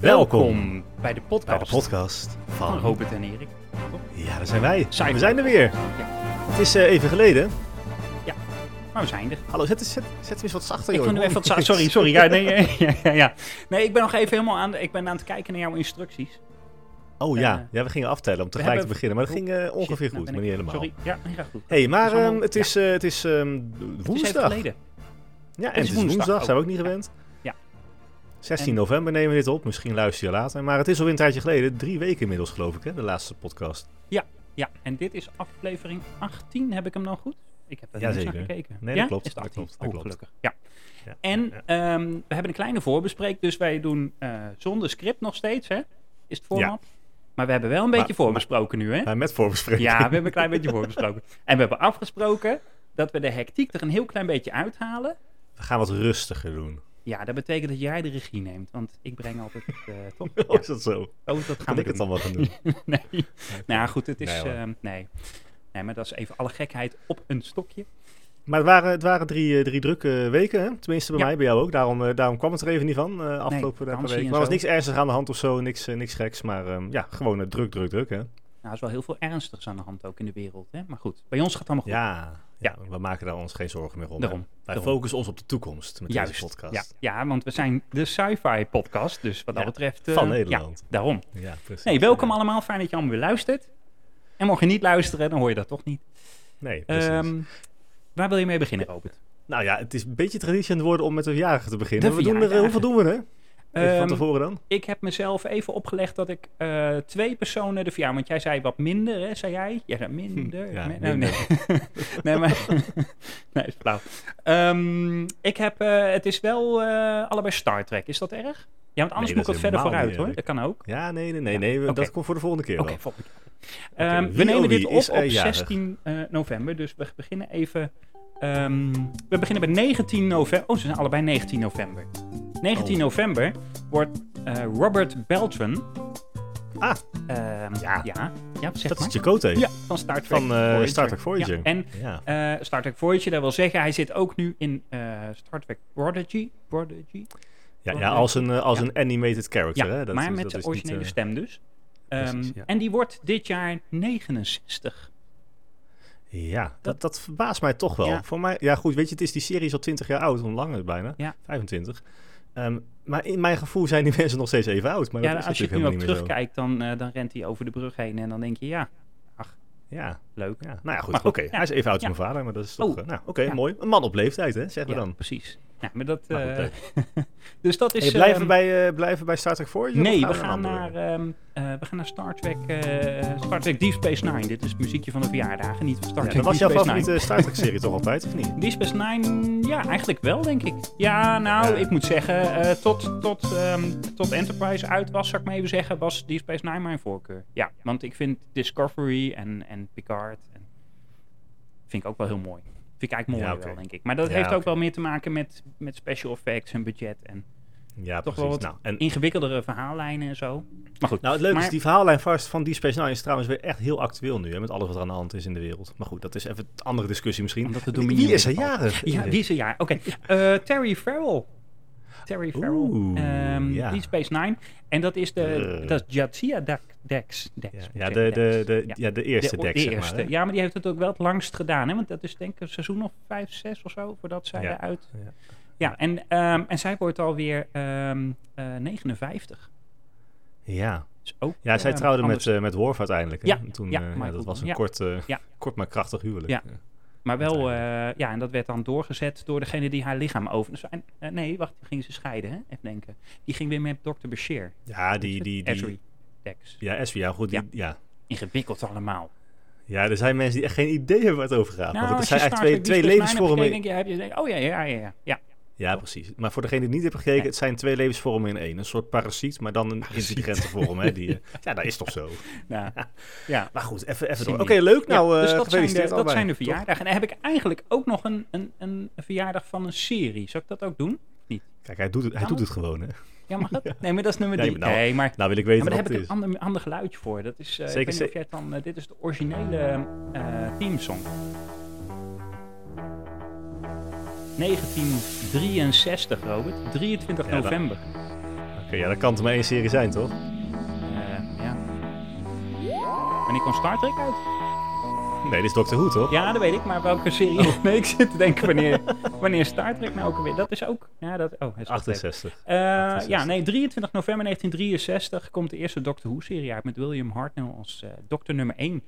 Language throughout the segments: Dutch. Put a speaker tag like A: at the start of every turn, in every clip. A: Welkom.
B: bij de
A: bij
B: podcast
A: de podcast
B: van
A: van
B: Robert en Erik.
A: Ja, daar zijn wij.
B: Zijn
A: we
B: we.
A: zijn er weer.
B: Ja,
A: Het is eh, even geleden.
B: maar we zijn er.
A: Hallo, zet, zet, zet hem eens wat zachter,
B: Ik
A: joh.
B: wil nu
A: hoor
B: even wat za-
A: niks.
B: Sorry, sorry. Ja, nee, ja, ja, ja, ja. nee, ik ben nog even helemaal aan, de- ik ben aan het kijken naar jouw instructies.
A: Oh
B: Eh,
A: ja. ja, we gingen aftellen om tegelijk te
B: hebben-
A: beginnen. Maar dat ging eh, ongeveer
B: Shit, nou
A: goed, maar
B: ben ik-
A: niet helemaal.
B: Sorry, ja, nee, gaat goed.
A: hey, maar
B: Het is allemaal-
A: ehm, het is, eh, het is ehm,
B: Het is even
A: woensdag.
B: geleden.
A: ja, en het is woensdag.
B: woensdag
A: Zijn we ook
B: ook.
A: niet gewend.
B: Ja.
A: 16
B: En-
A: november nemen we dit op. Misschien luister je later. Maar het is alweer een tijdje geleden. Drie weken inmiddels, geloof ik, hè, de laatste podcast.
B: Ja, en dit is aflevering 18. Heb ik hem nou goed? Ik heb er niet naar
A: Jazeker.
B: gekeken.
A: Nee, dat
B: Ja?
A: klopt,
B: Is het
A: dat
B: 18?
A: klopt, dat
B: Oh,
A: klopt.
B: gelukkig. Ja.
A: Ja,
B: En
A: ja,
B: ehm, we hebben een kleine voorbespreek, dus wij doen eh, zonder script nog steeds, hè? Is het format. Maar we hebben wel een beetje
A: Maar-
B: voorbesproken nu, hè?
A: ja. Nou, met voorbespreking.
B: Ja, we hebben een klein beetje voorbesproken. En we hebben afgesproken dat we de hectiek er een heel klein beetje uithalen.
A: We gaan wat rustiger doen.
B: Ja, dat betekent dat jij de regie neemt, want ik breng altijd het eh, top.
A: Oh, is dat zo?
B: Oh, dat gaan
A: Kan
B: we
A: ik het
B: doen.
A: dan wel gaan doen?
B: Nee. Nou ja, goed, het is...
A: Nee,
B: ehm,
A: hoor.
B: Nee, nee. maar dat is even alle gekheid op een stokje.
A: Maar het waren, het waren drie, eh, drie drukke weken, hè? tenminste bij
B: Ja.
A: mij, bij jou ook. Daarom, eh, daarom kwam het er even niet van eh, afgelopen paar
B: vakantie
A: weken.
B: en
A: Maar er was
B: zo.
A: niks ernstigs aan de hand of zo, niks, eh, niks geks. Maar ehm, ja, gewoon eh, druk, druk, druk. Hè?
B: Nou, er is wel heel veel ernstigs aan de hand ook in de wereld, hè? Maar goed, bij ons gaat het allemaal goed.
A: Ja, ja,
B: Ja.
A: we maken daar ons geen zorgen meer om. hè.
B: Daarom.
A: Wij
B: daarom.
A: focussen ons op de toekomst met deze podcast.
B: Ja, ja, want we zijn de sci-fi podcast, dus wat dat
A: Ja,
B: betreft... eh,
A: van Nederland.
B: Ja, daarom.
A: Ja, precies.
B: Nee, welkom allemaal. Fijn dat je allemaal weer luistert. En mocht je niet luisteren, dan hoor je dat toch niet.
A: Nee, precies.
B: Ehm, waar wil je mee beginnen, Robert?
A: nou ja, het is een beetje traditie aan het worden om met de verjaardag te beginnen.
B: De
A: we doen er, eh, hoeveel
B: verjaardagen.
A: doen we, hè? Even van
B: Ehm,
A: tevoren dan?
B: ik heb mezelf even opgelegd dat ik eh, twee personen de verjaardag... Want jij zei wat minder, hè, zei jij? Jij zei minder.
A: Hm, ja,
B: Nee, Nee, nee, maar... nee, is flauw. Ehm, ik heb... eh, het is wel eh, allebei Star Trek. Is dat erg? Ja, want anders
A: Nee, dat
B: moet ik
A: is
B: wat verder
A: helemaal
B: vooruit,
A: niet
B: hoor.
A: erg.
B: Dat kan ook.
A: Ja, nee, nee, nee.
B: Ja,
A: nee we-
B: oké.
A: Dat komt voor de volgende keer
B: Oké,
A: wel.
B: volgende keer. Ehm,
A: Oké,
B: we
A: wie
B: nemen
A: oh
B: dit
A: wie
B: op
A: is er
B: op
A: jarig?
B: 16 eh, november, dus we beginnen even... ehm, we beginnen bij 19 november. Oh, ze zijn allebei 19 november. 19
A: Oh.
B: november wordt eh, Robert Beltran...
A: Ah.
B: Ehm, ja. ja. Ja, zeg
A: Dat is
B: maar.
A: Chakotay
B: Ja, van Star Trek
A: van eh
B: Voyager.
A: Star Trek Voyager.
B: Ja, en
A: Ja.
B: eh, Star Trek Voyager, dat wil zeggen, hij zit ook nu in eh, Star Trek Prodigy. Prodigy?
A: Ja,
B: Wel
A: ja,
B: leuk.
A: als, een, eh, als
B: Ja.
A: een animated character.
B: Ja,
A: hè? Dat
B: maar
A: is-
B: met
A: dat
B: zijn
A: is niet,
B: originele
A: eh,
B: stem dus. Ehm,
A: precies, ja.
B: En die wordt dit jaar 69.
A: Ja, dat, dat verbaast mij toch wel.
B: Ja.
A: Voor mij, ja, goed, weet je, het is die serie is al 20 jaar oud, hoe lang is het bijna?
B: Ja.
A: 25. Ehm, maar in mijn gevoel zijn die mensen nog steeds even oud. Maar
B: Ja,
A: dat is
B: als je het
A: natuurlijk
B: nu ook
A: helemaal niet meer
B: terugkijkt, dan, eh, dan rent hij over de brug heen en dan denk je, ja,
A: zo. Ja,
B: leuk.
A: ja, nou ja, goed.
B: Maar
A: Oké,
B: goed, ja.
A: hij is even oud als
B: Ja.
A: mijn vader, maar dat is toch...
B: Oh.
A: eh, nou, oké,
B: Ja.
A: mooi. Een man op leeftijd, hè, zeggen we
B: Ja,
A: dan.
B: precies. Ja, maar dat,
A: Maar goed,
B: eh, dus dat is...
A: Hey, blijven, we
B: ehm,
A: bij, eh blijven bij Star Trek Voyager? of
B: Nee, we
A: een
B: gaan,
A: andere?
B: naar, ehm, eh, we gaan naar Star Trek, eh, Star Trek Deep Space Nine. Dit is het muziekje van de verjaardagen, niet van Star
A: Ja,
B: Trek
A: dat was jouw
B: Deep Space Nine.
A: favoriete Star Trek-serie toch altijd, of niet?
B: Deep Space Nine, ja, eigenlijk wel, denk ik. Ja, nou,
A: Ja.
B: ik moet zeggen, eh, tot, tot, ehm, tot Enterprise uit was, zou ik maar even zeggen, was Deep Space Nine mijn voorkeur. Ja, want ik vind Discovery en, en Picard en vind ik ook wel heel mooi. Vind ik eigenlijk mooi
A: Ja, oké.
B: wel, denk ik. Maar dat
A: Ja,
B: heeft ook
A: oké.
B: wel meer te maken met, met special effects en budget en
A: Ja,
B: Toch wel
A: precies.
B: wat
A: Nou, en
B: ingewikkeldere verhaallijnen en zo. Maar goed.
A: Nou, het leuke is,
B: Maar-
A: die verhaallijn vast van Deep Space Nine is trouwens weer echt heel actueel nu, hè, met alles wat er aan de hand is in de wereld. Maar goed, dat is even een andere discussie misschien.
B: Omdat de
A: Wie-
B: Dominion
A: Wie is er
B: dit al-
A: jarig?
B: Ja, wie is er jaar? Oké. Eh, Terry Farrell. Terry Farrell.
A: Oeh,
B: Ehm,
A: ja.
B: Deep Space Nine. En dat is de...
A: Eh.
B: Dat is Jadzia Dax. Dex. Dex.
A: Ja,
B: moet
A: ja,
B: ik
A: de, de,
B: zeggen, Dax.
A: de,
B: Ja.
A: ja, de eerste
B: De-
A: deck,
B: de
A: zeg maar.
B: eerste.
A: hè?
B: ja, maar die heeft het ook wel het langst gedaan. Hè? Want dat is denk ik een seizoen of vijf, zes of zo. Voordat zij
A: Ja.
B: eruit...
A: Ja.
B: Ja, en, ehm, en zij wordt alweer ehm eh 59.
A: Ja.
B: Dus ook,
A: ja, zij
B: ehm,
A: trouwde
B: anders.
A: met, eh, met Worf uiteindelijk. hè?
B: Ja,
A: En Toen,
B: ja,
A: eh,
B: Michael
A: dat was een
B: Dorn, ja.
A: kort, eh,
B: Ja.
A: kort maar krachtig huwelijk.
B: Ja. Maar wel,
A: Uiteindelijk.
B: eh, ja, en dat werd dan doorgezet door degene die haar lichaam over... Dus, en- eh, nee, wacht, die gingen ze scheiden, hè? Even denken. Die ging weer met Dr. Bashir.
A: Ja, die... die, die
B: Esri. Dex.
A: Ja, Esri, ja, goed. Die, ja. Ja.
B: Ingewikkeld allemaal.
A: er zijn mensen die echt geen idee hebben waar het over gaat. maar goed, er
B: Nou, als
A: Nou, zijn
B: je
A: echt
B: Star
A: twee,
B: Trek
A: twee
B: Deep Space Nine hebt
A: levensvormen...
B: gekeken, denk je, heb je denk, oh ja, ja, ja, ja. ja.
A: Ja, precies. Maar voor degene die het niet hebben gekeken,
B: Nee.
A: het zijn twee levensvormen in één. Een soort parasiet, maar dan een intelligente vorm. Hè, die, eh, ja, dat is toch zo.
B: Nou, ja.
A: Maar goed, even, even door.
B: Zien
A: Oké,
B: we.
A: leuk. Nou,
B: Ja,
A: eh
B: dus dat zijn, de,
A: gefeliciteerd
B: dat zijn de verjaardagen. En dan heb ik eigenlijk ook nog een, een, een verjaardag van een serie. Zal ik dat ook doen?
A: Kijk, hij doet het, hij
B: Kan
A: doet
B: het?
A: het gewoon, hè.
B: Ja, mag dat? Nee, maar dat is nummer
A: Nee,
B: drie.
A: maar nou-
B: nee, maar
A: Nou wil ik
B: Ja,
A: weten
B: maar daar
A: wat
B: heb ik
A: het is.
B: een ander, ander geluidje voor. Dat is, eh,
A: Zeker,
B: ik weet niet
A: zeker.
B: of jij het dan... eh, dit is de originele eh teamsong. 1963, Robert. 23
A: Ja, dat-
B: november.
A: Oké, Zeker, ja, dat kan het maar één serie zijn, toch?
B: Eh, ja. Wanneer kwam Star Trek uit?
A: Nee, dit is Doctor Who, toch?
B: Ja, dat weet ik, maar welke serie?
A: Oh.
B: Nee, ik zit te denken wanneer, wanneer Star Trek nou ook weer. Dat is ook. Ja, dat, oh, het is Star Trek.
A: 68.
B: Eh,
A: 68.
B: ja, nee, 23 november 1963 komt de eerste Doctor Who-serie uit met William Hartnell als eh dokter nummer 1.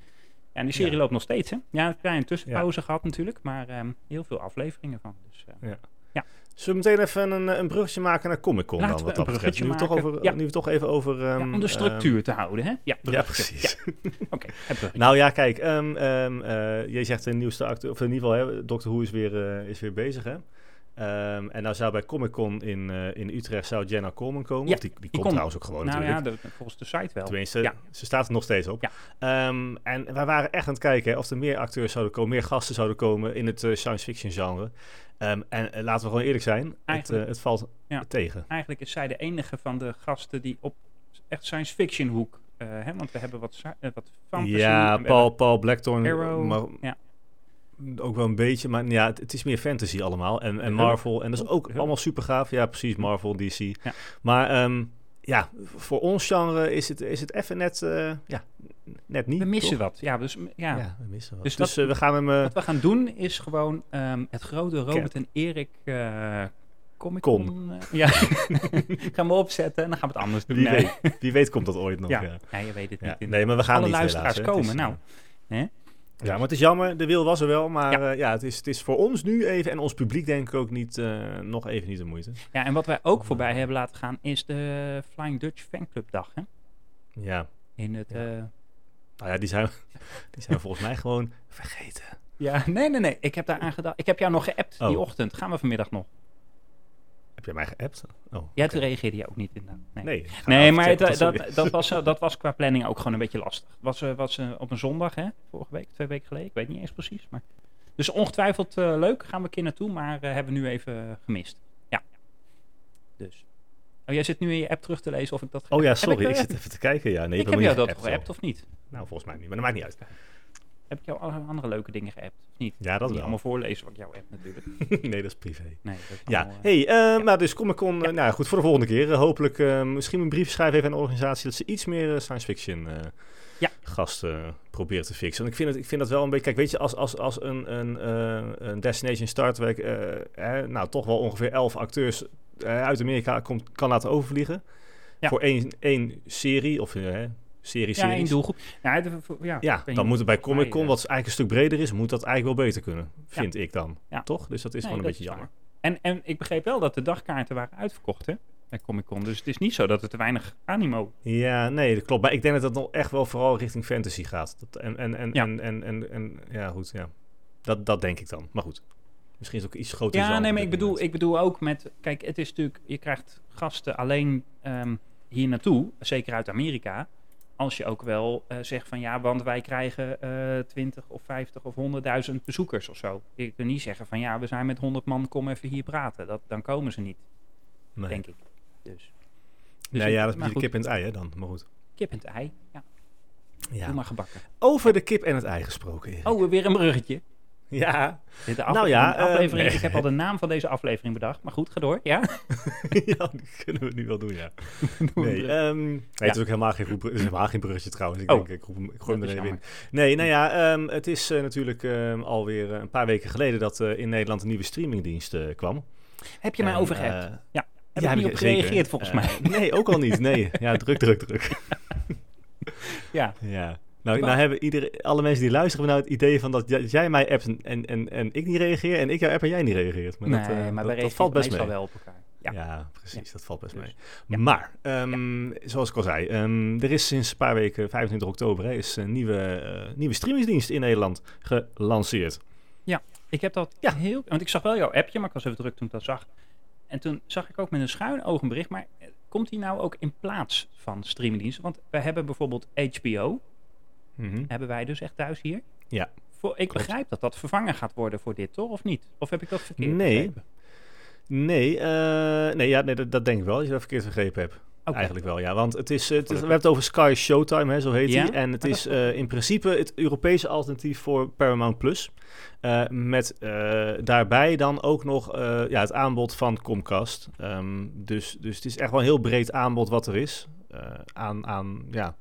B: En die serie
A: Ja.
B: loopt nog steeds, hè? Ja, een kleine tussenpauze gehad natuurlijk, maar ehm, heel veel afleveringen van. Dus, eh,
A: Zullen we meteen even een, eh, een bruggetje maken naar Comic Con
B: Laten
A: dan,
B: we
A: wat dat
B: een
A: betreft?
B: bruggetje
A: Nu we, toch
B: maken.
A: over,
B: Ja.
A: nu we het toch even over...
B: ja,
A: ehm,
B: om de structuur te houden, hè? Ja,
A: ehm, ja,
B: bruggetje.
A: precies.
B: Ja, Oké, het bruggetje.
A: Nou ja, kijk, ehm ehm, eh, jij zegt de nieuwste acteur, of in ieder geval, hè, Doctor Who is weer, eh, is weer bezig, hè? Ehm, en nou zou bij Comic Con in, eh, in Utrecht zou Jenna Coleman komen.
B: Ja,
A: Of die, die, komt
B: komt.
A: trouwens ook gewoon
B: nou
A: natuurlijk.
B: ja, dat- volgens de site wel.
A: Tenminste,
B: Ja.
A: ze staat er nog steeds op.
B: Ja.
A: Ehm, en wij waren echt aan het kijken hè, of er meer acteurs zouden komen, meer gasten zouden komen in het eh, science fiction genre. Ehm, en eh, laten we gewoon eerlijk zijn, het,
B: Eigenlijk-
A: eh, het valt
B: Ja.
A: tegen.
B: Eigenlijk is zij de enige van de gasten die op echt science fiction hoek. eh, hè, want we hebben wat, sci- eh, wat fantasy.
A: ja,
B: en we hebben
A: Paul, Paul Blackthorne.
B: Arrow.
A: Maar,
B: ja.
A: Ook wel een beetje, maar ja, het, het is meer fantasy allemaal. En, en
B: Hulk.
A: Marvel. En dat is
B: Hulk,
A: ook
B: Hulk.
A: allemaal super gaaf. Ja, precies, Marvel, DC.
B: Oh, Ja.
A: Maar ehm, ja, voor ons genre is het, is het even net, eh, ja, net niet.
B: We missen
A: toch?
B: wat. Ja, dus, m- ja.
A: Ja. we missen wat. Dus,
B: Dus
A: eh, we gaan hem... eh,
B: Wat we gaan doen is gewoon ehm, het grote Robert en Erik eh Comic Con. eh, ja, gaan we opzetten en dan gaan we het anders doen.
A: wie,
B: nee.
A: weet, wie weet komt dat ooit nog.
B: Ja.
A: Ja.
B: Ja, je weet het
A: Ja,
B: niet.
A: Nee, maar we gaan
B: Alle
A: niet
B: luisteraars
A: helaas, hè. Het
B: komen,
A: is,
B: nou. Hè?
A: eh, Ja, maar het is jammer. De wil was er wel. Maar ja, ja het, is, het is voor ons nu even... En ons publiek denk ik ook niet, eh, nog even niet de moeite.
B: Ja, en wat wij
A: Oh.
B: ook voorbij hebben laten gaan is de Flying Dutch Fanclub dag. Hè?
A: Ja.
B: In het,
A: Ja.
B: eh,
A: Nou ja, die zijn, die zijn we volgens mij gewoon vergeten.
B: ja, nee, nee, nee. Ik heb daar aan gedacht. Ik heb jou nog geappt
A: Oh.
B: die ochtend. Gaan we vanmiddag nog?
A: Heb jij mij geappt? Oh.
B: Ja, toen reageerde je ook niet inderdaad. Nee.
A: Nee, ik ga
B: Nee,
A: even
B: maar
A: checken
B: het,
A: of dat
B: dat,
A: zo
B: dat,
A: is.
B: was, eh, dat was qua planning ook gewoon een beetje lastig. Was, eh, was eh, op een zondag, hè? Vorige week, twee weken geleden. Ik weet niet eens precies. Maar... Dus ongetwijfeld eh, leuk. Gaan we een keer naartoe, maar eh, hebben we nu even eh, gemist. Ja. Dus. Oh, jij zit nu in je app terug te lezen of ik dat...
A: Oh ja,
B: Heb
A: sorry, ik
B: ik, eh,
A: zit even te kijken. Ja, nee,
B: ik
A: ik
B: heb
A: niet
B: jou dat
A: geappt,
B: geappt
A: hoor.
B: of niet?
A: Nou, volgens mij niet, maar dat maakt niet uit.
B: Heb ik jou alle andere leuke dingen geappt of niet?
A: Ja, dat
B: niet
A: wel.
B: allemaal voorlezen wat ik jou app natuurlijk.
A: nee, dat is privé.
B: Nee, dat is
A: Ja,
B: allemaal, eh,
A: hey, eh, nou dus Comic Con, eh, nou goed, voor de volgende keer. eh, hopelijk eh, misschien een brief schrijven even aan de organisatie dat ze iets meer eh, science fiction eh,
B: Ja.
A: gasten eh, proberen te fixen. Want ik vind, het, ik vind dat wel een beetje, kijk weet je, als, als, als een, een, eh, een Destination Star Trek, eh, eh, nou toch wel ongeveer elf acteurs eh, uit Amerika komt, kan laten overvliegen.
B: Ja.
A: Voor één, één serie, of eh, serie
B: ja, één
A: series.
B: doelgroep. Ja, de- voor- ja,
A: Ja,
B: ik weet
A: dan
B: niet.
A: moet het bij
B: Volgens mij,
A: Comic Con,
B: eh,
A: wat eigenlijk een stuk breder is, moet dat eigenlijk wel beter kunnen. Vind ik dan.
B: Ja.
A: Toch? Dus dat is
B: Nee,
A: gewoon een
B: dat
A: beetje
B: is
A: jammer.
B: waar. En, en ik begreep wel dat de dagkaarten waren uitverkocht, hè? Bij Comic Con. Dus het is niet zo dat er te weinig animo.
A: Ja, nee, dat klopt. Maar ik denk dat dat nog echt wel vooral richting fantasy gaat. Dat, en, en, en,
B: Ja.
A: en, en, en, en- ja, goed, ja. Dat, dat denk ik dan. Maar goed, misschien is het ook iets groter.
B: Ja,
A: genre
B: nee,
A: op
B: maar
A: dit
B: ik bedoel,
A: moment.
B: ik bedoel ook met. Kijk, het is natuurlijk. Je krijgt gasten alleen ehm, hier naartoe, zeker uit Amerika. Als je ook wel eh, zegt van ja, want wij krijgen eh 20 of 50 of 100.000 bezoekers of zo. Je kunt niet zeggen van ja, we zijn met 100 man, kom even hier praten. Dat, dan komen ze niet,
A: Nee.
B: denk ik. Dus.
A: Nee,
B: ik-
A: ja, dat is een
B: maar
A: beetje
B: goed,
A: kip en het ei, hè, dan. Maar goed.
B: kip en het ei. Ja,
A: Ja.
B: doe maar gebakken.
A: Over de kip en het ei gesproken, Erik.
B: Oh, weer een bruggetje.
A: Ja.
B: Dit de afle-
A: Nou ja,
B: een aflevering,
A: eh,
B: ik heb al de naam van deze aflevering bedacht. Maar goed, ga door. Ja?
A: ja, die kunnen we nu wel doen, ja. Nee,
B: brug.
A: ehm, nee het is ook helemaal geen, goed, br- het is helemaal geen bruggetje trouwens. Ik,
B: Oh.
A: denk, ik, roep hem- ik gooi hem
B: Dat
A: er
B: is
A: even in. Nee, nou ja, ehm, het is eh, natuurlijk ehm, alweer eh, een paar weken geleden dat eh, in Nederland een nieuwe streamingdienst eh, kwam.
B: Heb je mij
A: En,
B: overgehept?
A: eh,
B: heb
A: ja,
B: ik
A: heb
B: niet
A: ik
B: op
A: zeker.
B: gereageerd volgens
A: Eh,
B: mij.
A: Nee, ook al niet. Nee, ja, druk, druk, druk.
B: Ja.
A: Ja. Nou, nou hebben iedere, alle mensen die luisteren nou het idee van dat j- jij mij appt en, en, en, en ik niet reageer en ik jou app en jij niet reageert. Maar
B: nee,
A: dat, eh,
B: maar
A: dat,
B: wij
A: dat valt best mee.
B: meestal wel op elkaar. Ja.
A: Ja, precies. Dat valt best
B: Dus,
A: mee.
B: ja.
A: Maar, ehm, zoals ik al zei, ehm, er is sinds een paar weken, 25 oktober, hè, is een nieuwe, eh, nieuwe streamingsdienst in Nederland gelanceerd.
B: Ik heb dat
A: Ja.
B: heel... Want ik zag wel jouw appje, maar ik was even druk toen ik dat zag. En toen zag ik ook met een schuin oog een bericht. Maar eh, komt die nou ook in plaats van streamingdiensten? Want wij hebben bijvoorbeeld HBO. Hebben wij dus echt thuis hier.
A: Ja.
B: Voor, ik
A: Klopt.
B: begrijp dat dat vervangen gaat worden voor dit, toch? Of niet? Of heb ik dat verkeerd
A: Nee.
B: begrepen?
A: Nee, eh, nee, ja, nee dat, dat denk ik wel, dat je dat verkeerd gegrepen hebt. Eigenlijk wel, ja. Want het is, het is- we hebben het over Sky Showtime, hè, zo heet
B: Ja?
A: die. En het is eh, in principe het Europese alternatief voor Paramount Plus. Eh, met eh, daarbij dan ook nog eh, ja, het aanbod van Comcast. Ehm, dus, dus het is echt wel een heel breed aanbod wat er is eh, aan, aan, ja,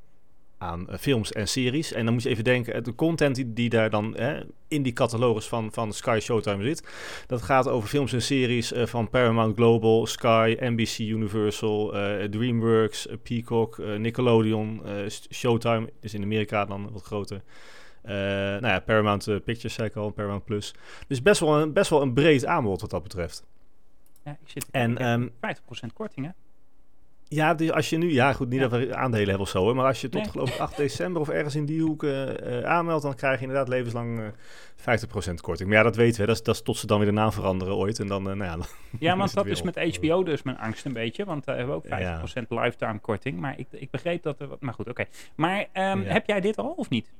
A: aan eh, films en series. En dan moet je even denken, eh, de content die, die daar dan hè, in die catalogus van, van Sky Showtime zit... Dat gaat over films en series eh, van Paramount Global, Sky, NBC Universal, eh, DreamWorks, eh, Peacock, eh, Nickelodeon, eh, S- Showtime, dus in Amerika dan wat groter. Eh, nou ja, Paramount eh, Pictures zei ik al, Paramount Plus. Dus best wel, een, best wel een breed aanbod wat dat betreft.
B: Ja, ik zit
A: En ehm,
B: 50% korting, hè?
A: ja, dus als je nu, ja goed, niet
B: Ja.
A: dat we aandelen hebben of zo, hè, maar als je tot
B: Nee.
A: geloof ik 8 december of ergens in die hoek eh, eh, aanmeldt, dan krijg je inderdaad levenslang eh 50% korting. Maar ja, dat weten we, dat is, dat is tot ze dan weer de naam veranderen ooit. En dan, eh, nou ja,
B: Ja,
A: Is
B: want
A: het
B: dat
A: weer
B: is
A: op.
B: met HBO dus mijn angst een beetje. Want daar hebben we
A: Ja.
B: ook 50% lifetime korting. Maar ik, ik begreep dat er... wat- Maar goed, oké. Maar ehm,
A: Ja.
B: heb jij dit al of niet?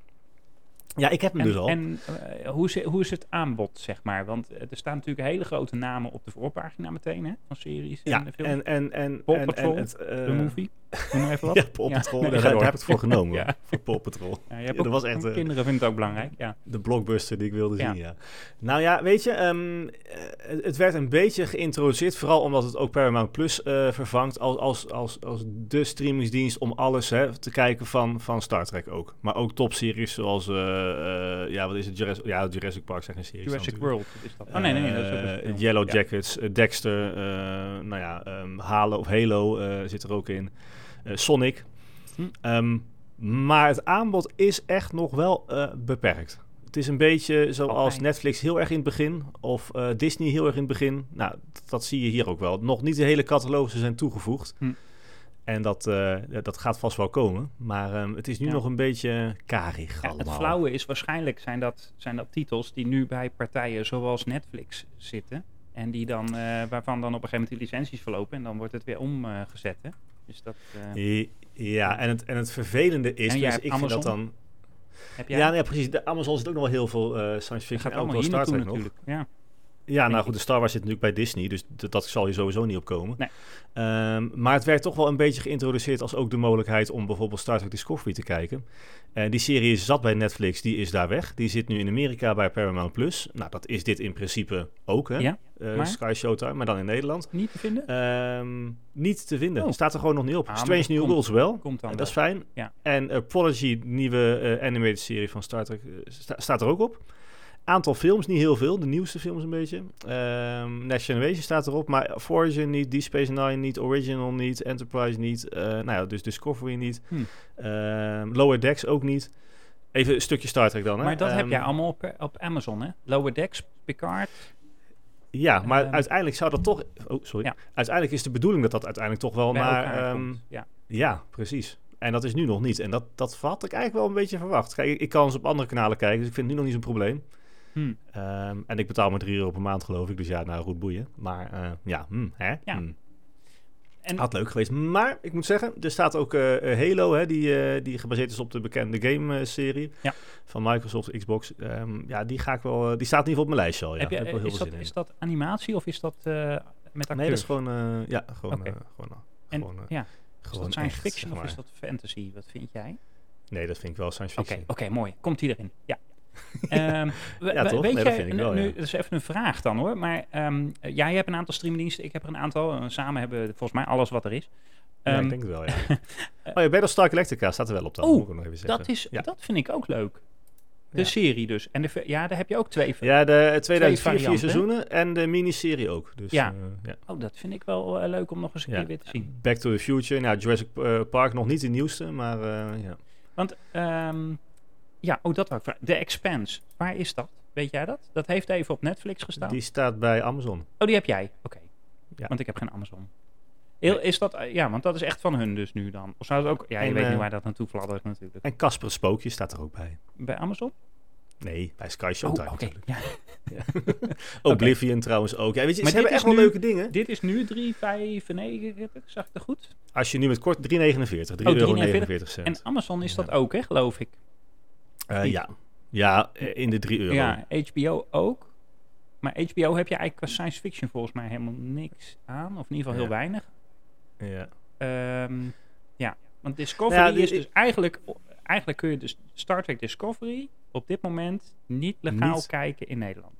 A: ja, ik heb hem
B: En,
A: dus al.
B: en eh, hoe, is, hoe is het aanbod, zeg maar? Want eh, er staan natuurlijk hele grote namen op de voorpagina meteen, hè? Van series en
A: Ja,
B: eh, films.
A: en, en, en,
B: Paw
A: en, en
B: Patrol,
A: het...
B: de
A: eh,
B: movie. Noem maar even wat.
A: Ja, Paw Patrol.
B: nee,
A: daar,
B: ga
A: daar
B: door.
A: heb ik het voor genomen,
B: Ja.
A: voor Paw Patrol.
B: Ja, je
A: Ja,
B: hebt
A: dat
B: ook-
A: was echt,
B: voor
A: eh,
B: Kinderen vind ik het ook belangrijk, ja.
A: De blockbuster die ik wilde
B: Ja.
A: zien, ja. Nou ja, weet je, ehm, eh, het- het werd een beetje geïntroduceerd, vooral omdat het ook Paramount Plus eh, vervangt als, als, als, als de streamingsdienst om alles hè, te kijken van, van Star Trek ook. Maar ook topseries zoals, eh, eh, ja, wat is het? Jurassic, ja, Jurassic Park zijn geen series. dan
B: Jurassic
A: natuurlijk.
B: World is dat. Oh, nee, nee, nee. Dat is ook
A: Eh,
B: een film.
A: Yellow
B: Ja.
A: Jackets, eh, Dexter, eh, nou ja, ehm, Halo of Halo eh, zit er ook in. Eh, Sonic.
B: Hm.
A: Ehm, maar het aanbod is echt nog wel eh, beperkt. Het is een beetje zoals
B: Altijd.
A: Netflix heel erg in het begin of eh, Disney heel erg in het begin. Nou, dat, dat zie je hier ook wel. Nog niet de hele catalogussen zijn toegevoegd.
B: Hm.
A: En dat, eh, ja, dat gaat vast wel komen. Maar ehm, het is nu
B: Ja.
A: nog een beetje karig
B: Ja,
A: allemaal.
B: het flauwe is waarschijnlijk zijn dat, zijn dat titels die nu bij partijen zoals Netflix zitten. En die dan, eh, waarvan dan op een gegeven moment die licenties verlopen. En dan wordt het weer omgezet. hè. dus dat eh,
A: I- Ja, en het, en het vervelende is,
B: En jij
A: dus ik
B: hebt
A: vind dat
B: Amazon?
A: dan...
B: heb jij.
A: Ja, nee, precies. De Amazon zit ook nog wel heel veel eh, science
B: dat
A: fiction.
B: gaat
A: en ook wel
B: allemaal hier
A: Star
B: naartoe
A: Trek nog.
B: natuurlijk. Ja.
A: Ja, nou
B: ik.
A: goed, de Star Wars zit natuurlijk bij Disney, dus dat, dat zal je sowieso niet opkomen.
B: Nee.
A: Ehm, maar het werd toch wel een beetje geïntroduceerd als ook de mogelijkheid om bijvoorbeeld Star Trek Discovery te kijken. En die serie zat bij Netflix, die is daar weg. Die zit nu in Amerika bij Paramount+. Plus. Nou, dat is dit in principe ook, hè?
B: Ja,
A: Eh,
B: maar?
A: Sky Showtime, maar dan in Nederland.
B: Niet te vinden?
A: Ehm, niet te vinden.
B: Oh.
A: Staat er gewoon nog niet op.
B: Ah, maar
A: Strange
B: dat
A: New
B: komt-
A: Worlds wel.
B: Komt dan.
A: En
B: wel.
A: dat is fijn.
B: Ja.
A: En eh, Prodigy, nieuwe eh, animated serie van Star Trek, eh, sta- staat er ook op. Aantal films, niet heel veel. De nieuwste films een beetje. Ehm Next Generation staat erop, maar Origin niet, Deep Space Nine niet, Original niet, Enterprise niet. eh, nou ja, dus Discovery niet.
B: Hmm.
A: Ehm, Lower Decks ook niet. Even een stukje Star Trek dan. Hè?
B: maar dat heb
A: Ehm, Oh,
B: jij allemaal op, op Amazon, hè? Lower Decks, Picard.
A: Ja, maar
B: Ehm,
A: uiteindelijk zou dat toch... Oh, sorry.
B: Ja.
A: Uiteindelijk is de bedoeling dat dat uiteindelijk toch wel
B: bij
A: naar...
B: elkaar
A: ehm,
B: komt. ja.
A: Ja, precies. En dat is nu nog niet. En dat, dat had ik eigenlijk wel een beetje verwacht. Kijk, ik- ik kan ze op andere kanalen kijken, dus ik vind het nu nog niet zo'n probleem.
B: Hm.
A: Ehm, en ik betaal maar 3 euro per maand, geloof ik. Dus ja, nou, goed boeien. Maar eh, ja, hm, hè?
B: Ja.
A: Hm.
B: En-
A: Had leuk geweest. Maar ik moet zeggen, er staat ook eh, eh, Halo, hè, die, eh, die gebaseerd is op de bekende game-serie
B: Ja.
A: van Microsoft, Xbox. Ehm, ja, die, ga ik wel, eh, die staat in ieder geval op mijn lijstje al. Ja.
B: heb
A: Daar
B: je,
A: heb ik wel heel
B: is,
A: veel
B: dat,
A: zin
B: is dat animatie of is dat eh, met
A: in.
B: acteurs?
A: Nee, dat is gewoon... eh, ja, gewoon...
B: Oké.
A: eh, gewoon, eh,
B: En-
A: gewoon, eh,
B: ja. Is
A: gewoon
B: dat science
A: echt,
B: fiction
A: zeg
B: of is
A: maar.
B: dat fantasy? Wat vind jij?
A: Nee, dat vind ik wel science
B: Oké,
A: fiction.
B: oké, mooi. Komt hij erin? Ja. Ehm, we-
A: Ja,
B: we-
A: toch?
B: Weet
A: Nee, dat
B: jij,
A: vind ik
B: nu-
A: wel, ja.
B: nu, dat is even een vraag dan hoor. Maar ehm, eh, jij hebt een aantal streamingdiensten, ik heb er een aantal. En samen hebben we volgens mij alles wat er is.
A: ja,
B: Ehm,
A: ik denk het wel, ja. oh ja, Battlestar Galactica staat er wel op dan.
B: Oeh,
A: moet ik ook nog even zeggen.
B: dat, is,
A: Ja.
B: dat vind ik ook leuk. De
A: Ja.
B: serie dus. En de, ver- ja, daar heb je ook twee van.
A: Ja, de 2004 vier
B: varianten.
A: seizoenen en de miniserie ook. Dus,
B: Ja.
A: eh, ja.
B: Oh, dat vind ik wel eh, leuk om nog eens een
A: Ja.
B: keer weer te zien.
A: Back to the Future, nou, Jurassic eh, Park nog niet de nieuwste, maar eh, ja.
B: Want, ehm, ja, oh, dat wou ik vragen. The Expanse, waar is dat? Weet jij dat? Dat heeft even op Netflix gestaan.
A: die staat bij Amazon.
B: Oh, die heb jij? Oké.
A: Ja.
B: Want ik heb geen Amazon. Heel- Is dat, eh, ja, want dat is echt van hun dus nu dan. Of zou het ook... Ja, je
A: En,
B: weet
A: eh,
B: niet waar dat naartoe fladdert natuurlijk.
A: En Casper Spookje staat er ook bij.
B: Bij Amazon?
A: Nee, bij Sky Showtime
B: oh, oké.
A: natuurlijk.
B: Ja.
A: Oblivion trouwens ook. Ja, weet je,
B: Maar
A: ze
B: dit
A: hebben echt
B: is
A: wel
B: nu-
A: leuke dingen.
B: Dit is nu 3,95, eh, zag ik dat goed?
A: Als je nu met kort 3,49, 3,49
B: Oh,
A: euro.
B: 3,49. En Amazon is dat
A: Ja.
B: ook, hè, geloof ik.
A: Eh, ja. ja, eh, in de 3 euro.
B: Ja, HBO ook. Maar HBO heb je eigenlijk qua science fiction volgens mij helemaal niks aan. Of in ieder geval heel
A: Ja.
B: weinig.
A: Ja.
B: Ehm, ja, want Discovery
A: Nou ja,
B: is
A: die-
B: dus eigenlijk... Eigenlijk kun je dus Star Trek Discovery op dit moment niet legaal
A: Niet.
B: kijken in Nederland.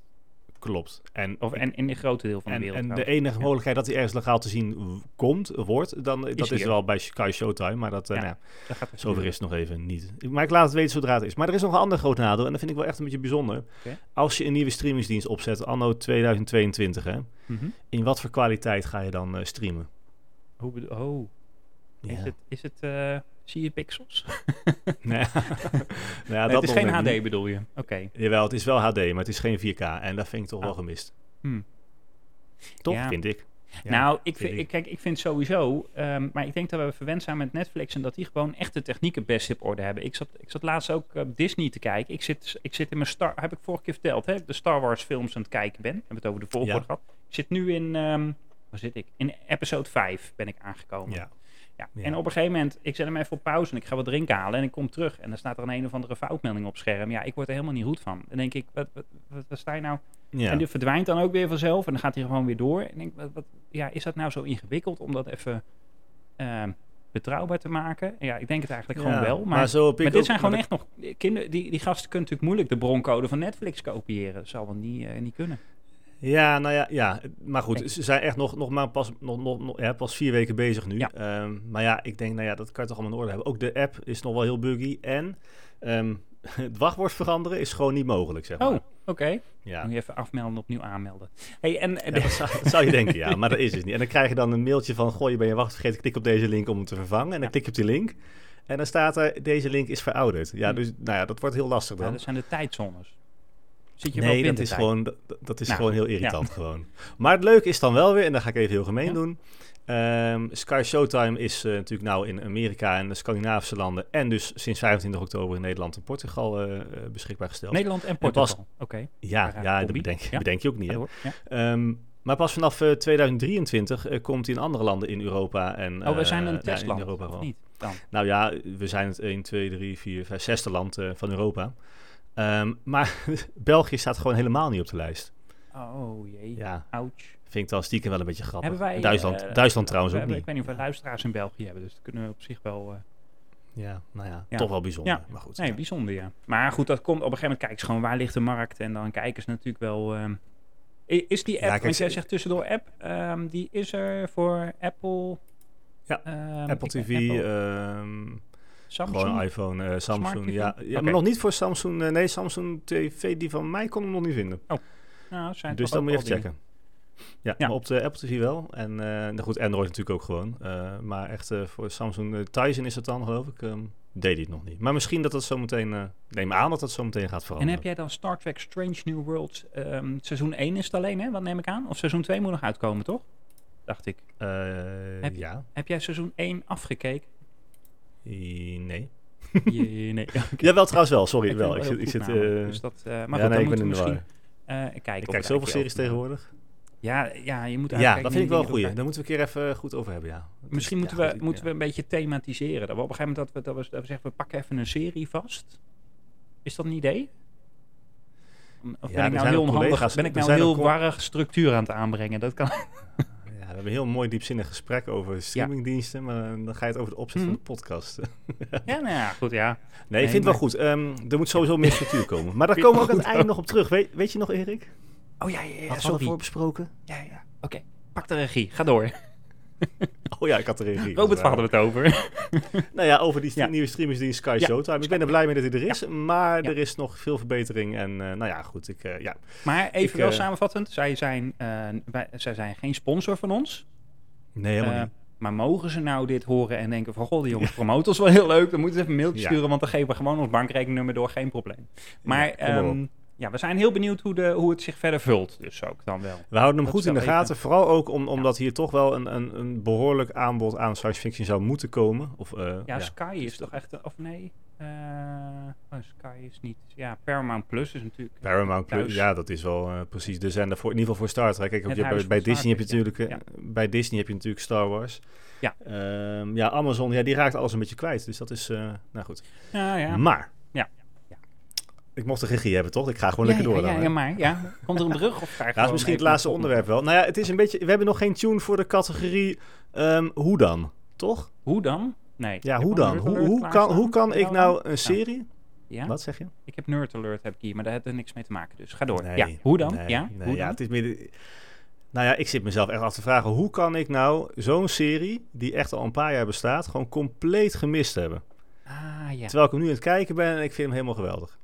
A: Klopt. En,
B: Of en in een grote deel van de
A: en,
B: wereld.
A: en de
B: trouwens.
A: enige
B: Ja.
A: mogelijkheid dat hij ergens legaal te zien w- komt, wordt, dan, dat is
B: hier.
A: wel bij Sky Showtime, maar dat, eh,
B: Ja.
A: nou ja,
B: Dat gaat dus er
A: zover is het nog even niet. Maar ik laat het weten zodra het is. Maar er is nog een ander groot nadeel, en dat vind ik wel echt een beetje bijzonder.
B: Oké.
A: Als je een nieuwe streamingsdienst opzet, anno 2022, hè,
B: Mhm.
A: in wat voor kwaliteit ga je dan eh, streamen?
B: Hoe bedo- oh, is
A: Ja.
B: het... Is het eh, zie je pixels?
A: Nee. Nou ja,
B: Nee,
A: dat
B: het
A: nog
B: is geen
A: net
B: HD
A: niet.
B: bedoel je? Oké.
A: Jawel, het is wel HD, maar het is geen 4K. En dat vind ik toch wel
B: Ah.
A: gemist.
B: Hmm.
A: Toch,
B: Ja.
A: vind ik. Ja,
B: nou,
A: vind
B: ik vind,
A: ik.
B: ik, kijk, ik vind sowieso, ehm, maar ik denk dat we verwend zijn met Netflix en dat die gewoon echt de techniek het best op orde hebben. Ik zat, ik zat laatst ook eh, Disney te kijken. Ik zit, ik zit in mijn Star, heb ik vorige keer verteld, hè, de Star Wars films aan het kijken ben. We hebben het over de volgorde
A: Ja.
B: gehad. Ik zit nu in, ehm, waar zit ik? In episode 5 ben ik aangekomen.
A: Ja.
B: Ja.
A: Ja.
B: En op een gegeven moment, ik zet hem even op pauze en ik ga wat drinken halen en ik kom terug en dan staat er een een of andere foutmelding op scherm. Ja, ik word er helemaal niet goed van. Dan denk ik, wat, wat, wat, wat sta je nou?
A: Ja.
B: En die verdwijnt dan ook weer vanzelf en dan gaat hij gewoon weer door. En ik denk, wat, wat, ja, is dat nou zo ingewikkeld om dat even ehm, betrouwbaar te maken? Ja, ik denk het eigenlijk
A: Ja,
B: gewoon wel. Maar, maar,
A: zo heb ik
B: dit
A: ook-
B: zijn gewoon
A: maar
B: echt nog eh, kinderen. Die, die gasten kunnen natuurlijk moeilijk de broncode van Netflix kopiëren. Dat zal wel niet, eh, niet kunnen.
A: Ja, nou ja, ja. maar
B: Denk
A: goed, ze zijn echt nog, nog maar pas, nog, nog, nog- ja, pas vier weken bezig nu.
B: Ja.
A: Ehm, maar ja, ik denk, nou ja, dat kan je toch allemaal in orde hebben. Ook de app is nog wel heel buggy. En ehm, het wachtwoord veranderen is gewoon niet mogelijk, zeg maar.
B: Oh, oké.
A: ja.
B: Moet je even afmelden, opnieuw aanmelden. Hey, en
A: Ja, dat, zou, dat zou je denken, ja, maar dat is het niet. En dan krijg je dan een mailtje van: Goh, je bent je wacht vergeten, klik op deze link om hem te vervangen. En dan
B: Ja.
A: klik je op die link. En dan staat er: Deze link is verouderd. Ja,
B: Hm.
A: dus nou ja, dat wordt heel lastig
B: Ja,
A: dan.
B: dat zijn de tijdzones. Zit je wel
A: Nee,
B: op
A: dat is,
B: wintertijd?
A: gewoon, dat, dat is
B: Nou,
A: gewoon heel irritant. Gewoon. Maar het leuke is dan wel weer, en dat ga ik even heel gemeen
B: Ja.
A: doen. ehm, Sky Showtime is eh, natuurlijk nou in Amerika en de Scandinavische landen. En dus sinds 25 oktober in Nederland en Portugal eh, eh, beschikbaar gesteld.
B: Nederland en
A: pas-
B: Portugal. Oké.
A: Ja,
B: Raar
A: ja dat
B: combi.
A: bedenk,
B: Ja.
A: bedenk je ook niet.
B: ga
A: Hè?
B: door. Ja.
A: Ehm, maar pas vanaf eh, 2023 eh, komt hij in andere landen in Europa. En,
B: Oh, we
A: eh,
B: zijn
A: ja,
B: een
A: in
B: testland,
A: Europa
B: of
A: wel.
B: niet? Dan.
A: Nou ja, we zijn het 1, 2, 3, 4, 5, zesde land eh, van Europa. Ehm, maar België staat gewoon helemaal niet op de lijst.
B: Oh jee.
A: Ja,
B: Ouch.
A: vind ik dan stiekem wel een beetje grappig.
B: Hebben wij,
A: Duitsland,
B: eh,
A: Duitsland trouwens
B: we
A: ook
B: hebben-
A: niet.
B: Ik weet niet of we luisteraars in België hebben, dus dat kunnen we op zich wel... eh,
A: Ja, nou ja,
B: Ja.
A: toch wel bijzonder.
B: Ja.
A: Maar goed.
B: nee, bijzonder, ja. Maar goed, dat komt op een gegeven moment, kijk ze gewoon, waar ligt de markt? En dan kijken ze natuurlijk wel... ehm, i- is die app,
A: kijk,
B: want jij
A: ze-
B: zegt tussendoor app, ehm, die is er voor Apple...
A: Ja,
B: ehm,
A: Apple
B: ik ben
A: TV,
B: Apple,
A: ehm,
B: Samsung.
A: gewoon iPhone, eh, Samsung.
B: TV?
A: Ja, ja
B: Oké.
A: maar nog niet voor Samsung. eh, nee, Samsung TV, die van mij kon hem nog niet vinden.
B: Nou, zijn
A: Dus
B: toch
A: dat
B: ook
A: moet je even
B: al dingen.
A: checken. Ja,
B: Ja.
A: maar op de Apple TV wel. En eh, nou goed, Android natuurlijk ook gewoon. Eh, maar echt eh, voor Samsung eh, Tizen is het dan, geloof ik. ehm, deed hij het nog niet. Maar misschien dat dat zo meteen... eh, neem aan dat dat zo meteen gaat
B: En
A: veranderen.
B: heb jij dan Star Trek Strange New Worlds, ehm, seizoen 1 is het alleen, hè? Wat neem ik aan? Of seizoen 2 moet nog uitkomen, toch? Dacht ik.
A: Eh,
B: heb je-
A: Ja.
B: Heb jij seizoen 1 afgekeken?
A: I- nee.
B: Jee, nee. Oké.
A: Jawel, trouwens wel. Sorry,
B: Ik vind
A: wel.
B: het
A: Ik
B: heel
A: zit... Ik
B: goed
A: zit
B: namelijk.
A: eh,
B: Dus dat, eh, maar
A: ja,
B: goed,
A: nee,
B: dan
A: ik ben
B: moeten
A: in
B: we
A: de
B: misschien
A: war.
B: eh, kijken.
A: Ik
B: of
A: kijk
B: het
A: zoveel
B: eigenlijk
A: series
B: wel-
A: tegenwoordig.
B: Ja, ja, je moet
A: ja,
B: eigenlijk
A: dat
B: die
A: vind ik wel een
B: dingen
A: goeie.
B: door
A: Daar moeten we een keer even goed over hebben, ja. Dat
B: elkaar-
A: is-
B: Misschien
A: ja,
B: moeten, we,
A: goed, ik-
B: moeten we
A: ja.
B: een beetje thematiseren. Dat we op een gegeven moment dat we, dat we, dat we zeggen, we pakken even een serie vast. Is dat een idee? Of
A: Ja,
B: ben
A: er
B: ik nou
A: zijn
B: heel
A: ook
B: onhandig?
A: collega's-
B: Ben ik
A: er
B: nou
A: zijn ook
B: heel
A: col-
B: warrig structuur aan het aanbrengen? Dat kan.
A: Ja, we hebben een heel mooi diepzinnig gesprek over streamingdiensten. Maar eh, dan ga je het over de opzet
B: Mhm.
A: van de podcast.
B: Ja, nou ja, goed, ja.
A: Nee,
B: Nee,
A: ik vind
B: maar-
A: het wel goed. Ehm, er moet sowieso meer structuur komen. Maar daar
B: Vind je
A: komen we ook
B: het
A: aan het einde nog op terug. Weet, weet je nog, Erik?
B: Oh ja, ja, ja,
A: Had
B: sorry.
A: besproken?
B: Ja, ja. Oké, pak de regie. Ga door.
A: Oh ja, ik had er een
B: Robert hadden we het over.
A: Nou ja, over die st-
B: Ja.
A: nieuwe streamingsdienst Sky
B: Ja,
A: Showtime. Ik ben er blij mee dat hij er is. Maar
B: Ja.
A: er is nog veel verbetering. En eh, nou ja, goed. Ik, eh, ja.
B: Maar even
A: Ik,
B: wel
A: eh,
B: samenvattend. Zij zijn, eh, wij- zij zijn geen sponsor van ons.
A: Nee, helemaal niet.
B: Eh, maar mogen ze nou dit horen en denken van... Goh, die jongens promoten ons wel heel leuk. Dan moeten ze even een mailtje
A: Ja.
B: sturen, want dan geven we gewoon ons bankrekeningnummer door. Geen probleem. Maar
A: Ja,
B: ja,
A: kom maar op.
B: ja, we zijn heel benieuwd hoe, de, hoe het zich verder vult. Dus ook dan wel.
A: We houden hem
B: dat
A: goed
B: is
A: in de
B: wel even-
A: gaten. Vooral ook om, omdat hier toch wel een, een, een behoorlijk aanbod aan science fiction zou moeten komen. Of, eh,
B: Ja,
A: ja.
B: Sky is toch echt... een- Of nee? Eh, oh, Sky is niet... Ja, Paramount Plus is natuurlijk...
A: Paramount Plus,
B: Thuis.
A: ja, dat is wel eh, precies de zender voor in ieder geval voor Star Trek. Kijk,
B: Het
A: je hebt
B: huis
A: bij, bij
B: van Star
A: Disney heb je
B: Trek,
A: natuurlijk eh, bij Disney heb je natuurlijk Star Wars.
B: Ja.
A: Ehm, ja, Amazon, ja, die raakt alles een beetje kwijt. Dus dat is, eh, nou goed.
B: Ja, ja.
A: Maar,
B: Ja.
A: ik mocht de regie hebben, toch? Ik ga gewoon
B: ja,
A: lekker
B: ja,
A: door dan.
B: ja,
A: hè?
B: ja, maar ja. Komt er een brug of krijg
A: Ja, dat is misschien het laatste onderwerp wel. Nou ja, het is een beetje. We hebben nog geen tune voor de categorie. ehm, hoe dan? Toch?
B: Hoe dan? Nee.
A: Ja,
B: ik
A: hoe
B: heb al
A: dan?
B: Nerd
A: Hoe,
B: Alert
A: hoe, kan,
B: klaarstaan.
A: hoe kan ik nou een
B: staan?
A: serie...
B: Ja,
A: Wat zeg je?
B: ik heb Nerd Alert heb ik hier, maar daar heeft het niks mee te maken. Dus ga door. ja, hoe dan?
A: nee,
B: ja,
A: nee,
B: hoe
A: ja,
B: dan?
A: het is midden... Nou ja, ik zit mezelf echt af te vragen... hoe kan ik nou zo'n serie, die echt al een paar jaar bestaat... gewoon compleet gemist hebben?
B: Ah, ja.
A: Terwijl ik hem nu aan het kijken ben en ik vind hem helemaal geweldig.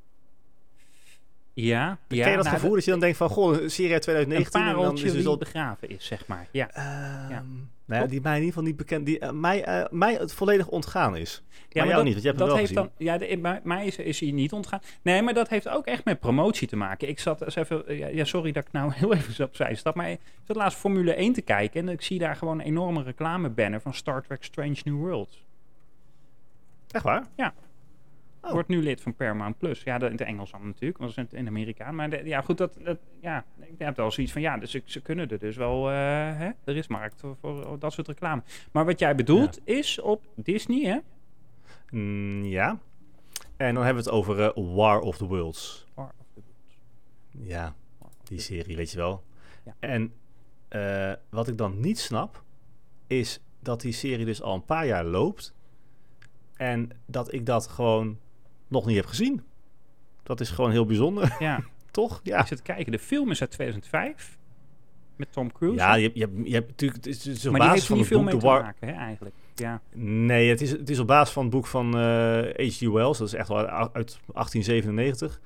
B: Ja, ja.
A: Ken je dat
B: nou,
A: gevoel dat je dan denkt van... goh, een serie uit
B: Een
A: 2019 en dan
B: pareltje
A: is
B: die
A: het al...
B: begraven is, zeg maar. Ja.
A: Ehm,
B: Ja.
A: Nou ja,
B: Toch?
A: die mij in ieder geval niet bekend... die eh, mij, eh, mij het volledig ontgaan is.
B: Ja,
A: jou niet, want je hebt hem
B: dat
A: wel
B: heeft Dan, ja, de- bij mij is, is hij niet ontgaan. Nee, maar dat heeft ook echt met promotie te maken. Ik zat eens even... Ja, ja, sorry dat ik nou heel even zo opzij stap. Maar ik zat laatst Formule 1 te kijken... en ik zie daar gewoon een enorme reclamebanner... van Star Trek Strange New Worlds.
A: Echt waar? Oh.
B: Wordt nu lid van Paramount Plus. Ja, dat in het Engels dan natuurlijk. Want dat is in- in Amerika. Maar de- ja, goed, dat... dat ja, ik heb wel zoiets van... Ja, dus, ik- ze kunnen er dus wel... eh, hè? Er is markt voor, voor dat soort reclame. Maar wat jij bedoelt is op Disney, hè?
A: Mm, ja. En dan hebben we het over eh, War of the Worlds.
B: War of the
A: Ja, die serie, weet je wel.
B: Ja.
A: En eh, wat ik dan niet snap, is dat die serie dus al een paar jaar loopt. En dat ik dat gewoon nog niet heb gezien. Dat is gewoon heel bijzonder,
B: Ja.
A: toch?
B: Ik
A: Ja,
B: zit te kijken. De film is uit 2005 met Tom Cruise.
A: ja je, hebt- je, hebt- je hebt natuurlijk... Het is, het is op
B: maar die
A: basis
B: heeft
A: van
B: hier
A: het boek
B: veel mee
A: The
B: te
A: War...
B: maken, hè, eigenlijk. Ja.
A: Nee, het is, het is op basis van het boek van eh, H.G. Wells. Dat is echt wel uit, uit 1897.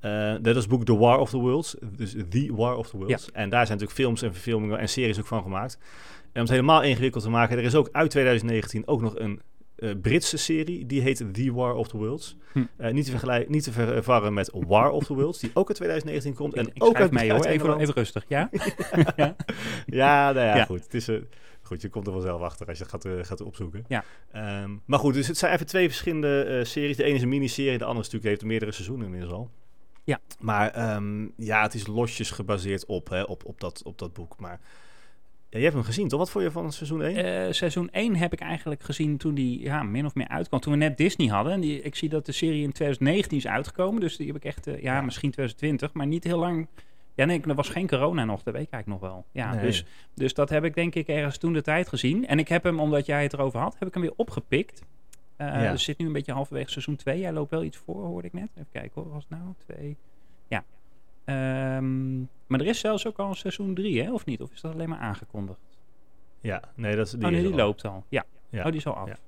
A: Eh, dat is het boek The War of the Worlds. Dus The War of the Worlds. En daar zijn natuurlijk films en verfilmingen en series ook van gemaakt. En om het helemaal ingewikkeld te maken... er is ook uit 2019 ook nog een eh, Britse serie. Die heet The War of the Worlds.
B: Hm.
A: Eh, niet, te vergelijk- niet te verwarren met War of the Worlds... die ook uit 2019 komt. En
B: ik, ik
A: ook
B: schrijf
A: uit,
B: mee,
A: uit
B: hoor. Even,
A: Engeland.
B: even rustig, ja?
A: Ja, nou ja,
B: Ja.
A: goed. Het is, eh, goed. Je komt er vanzelf achter als je het gaat, eh, gaat opzoeken.
B: Ja.
A: Ehm, maar goed, dus het zijn even twee verschillende eh, series. De ene is een miniserie, de andere is natuurlijk heeft meerdere seizoenen inmiddels al.
B: Ja.
A: Maar ehm, ja, het is losjes gebaseerd op, hè, op, op, dat, op dat boek. Maar ja, je hebt hem gezien, toch? Wat vond je van seizoen 1?
B: Eh, seizoen 1 heb ik eigenlijk gezien toen die ja, min of meer uitkwam. Toen we net Disney hadden. En die, ik zie dat de serie in 2019 is uitgekomen. Dus die heb ik echt, eh, ja,
A: Ja.
B: misschien 2020. Maar niet heel lang... Ja, nee, er was geen corona nog. Dat weet ik eigenlijk nog wel. Ja,
A: Nee.
B: dus, dus dat heb ik denk ik ergens toen de tijd gezien. En ik heb hem, omdat jij het erover had, heb ik hem weer opgepikt. Eh
A: Ja.
B: Dus zit nu een beetje halverwege seizoen 2. Jij loopt wel iets voor, hoorde ik net. Even kijken hoor, was het nou 2? Ja. Ehm, maar er is zelfs ook al een seizoen 3, hè? Of niet? Of is dat alleen maar aangekondigd?
A: Ja, nee, dat is
B: oh
A: is
B: nee,
A: er
B: die
A: al.
B: loopt al. Ja.
A: Ja.
B: Oh, die is al af.
A: Ja.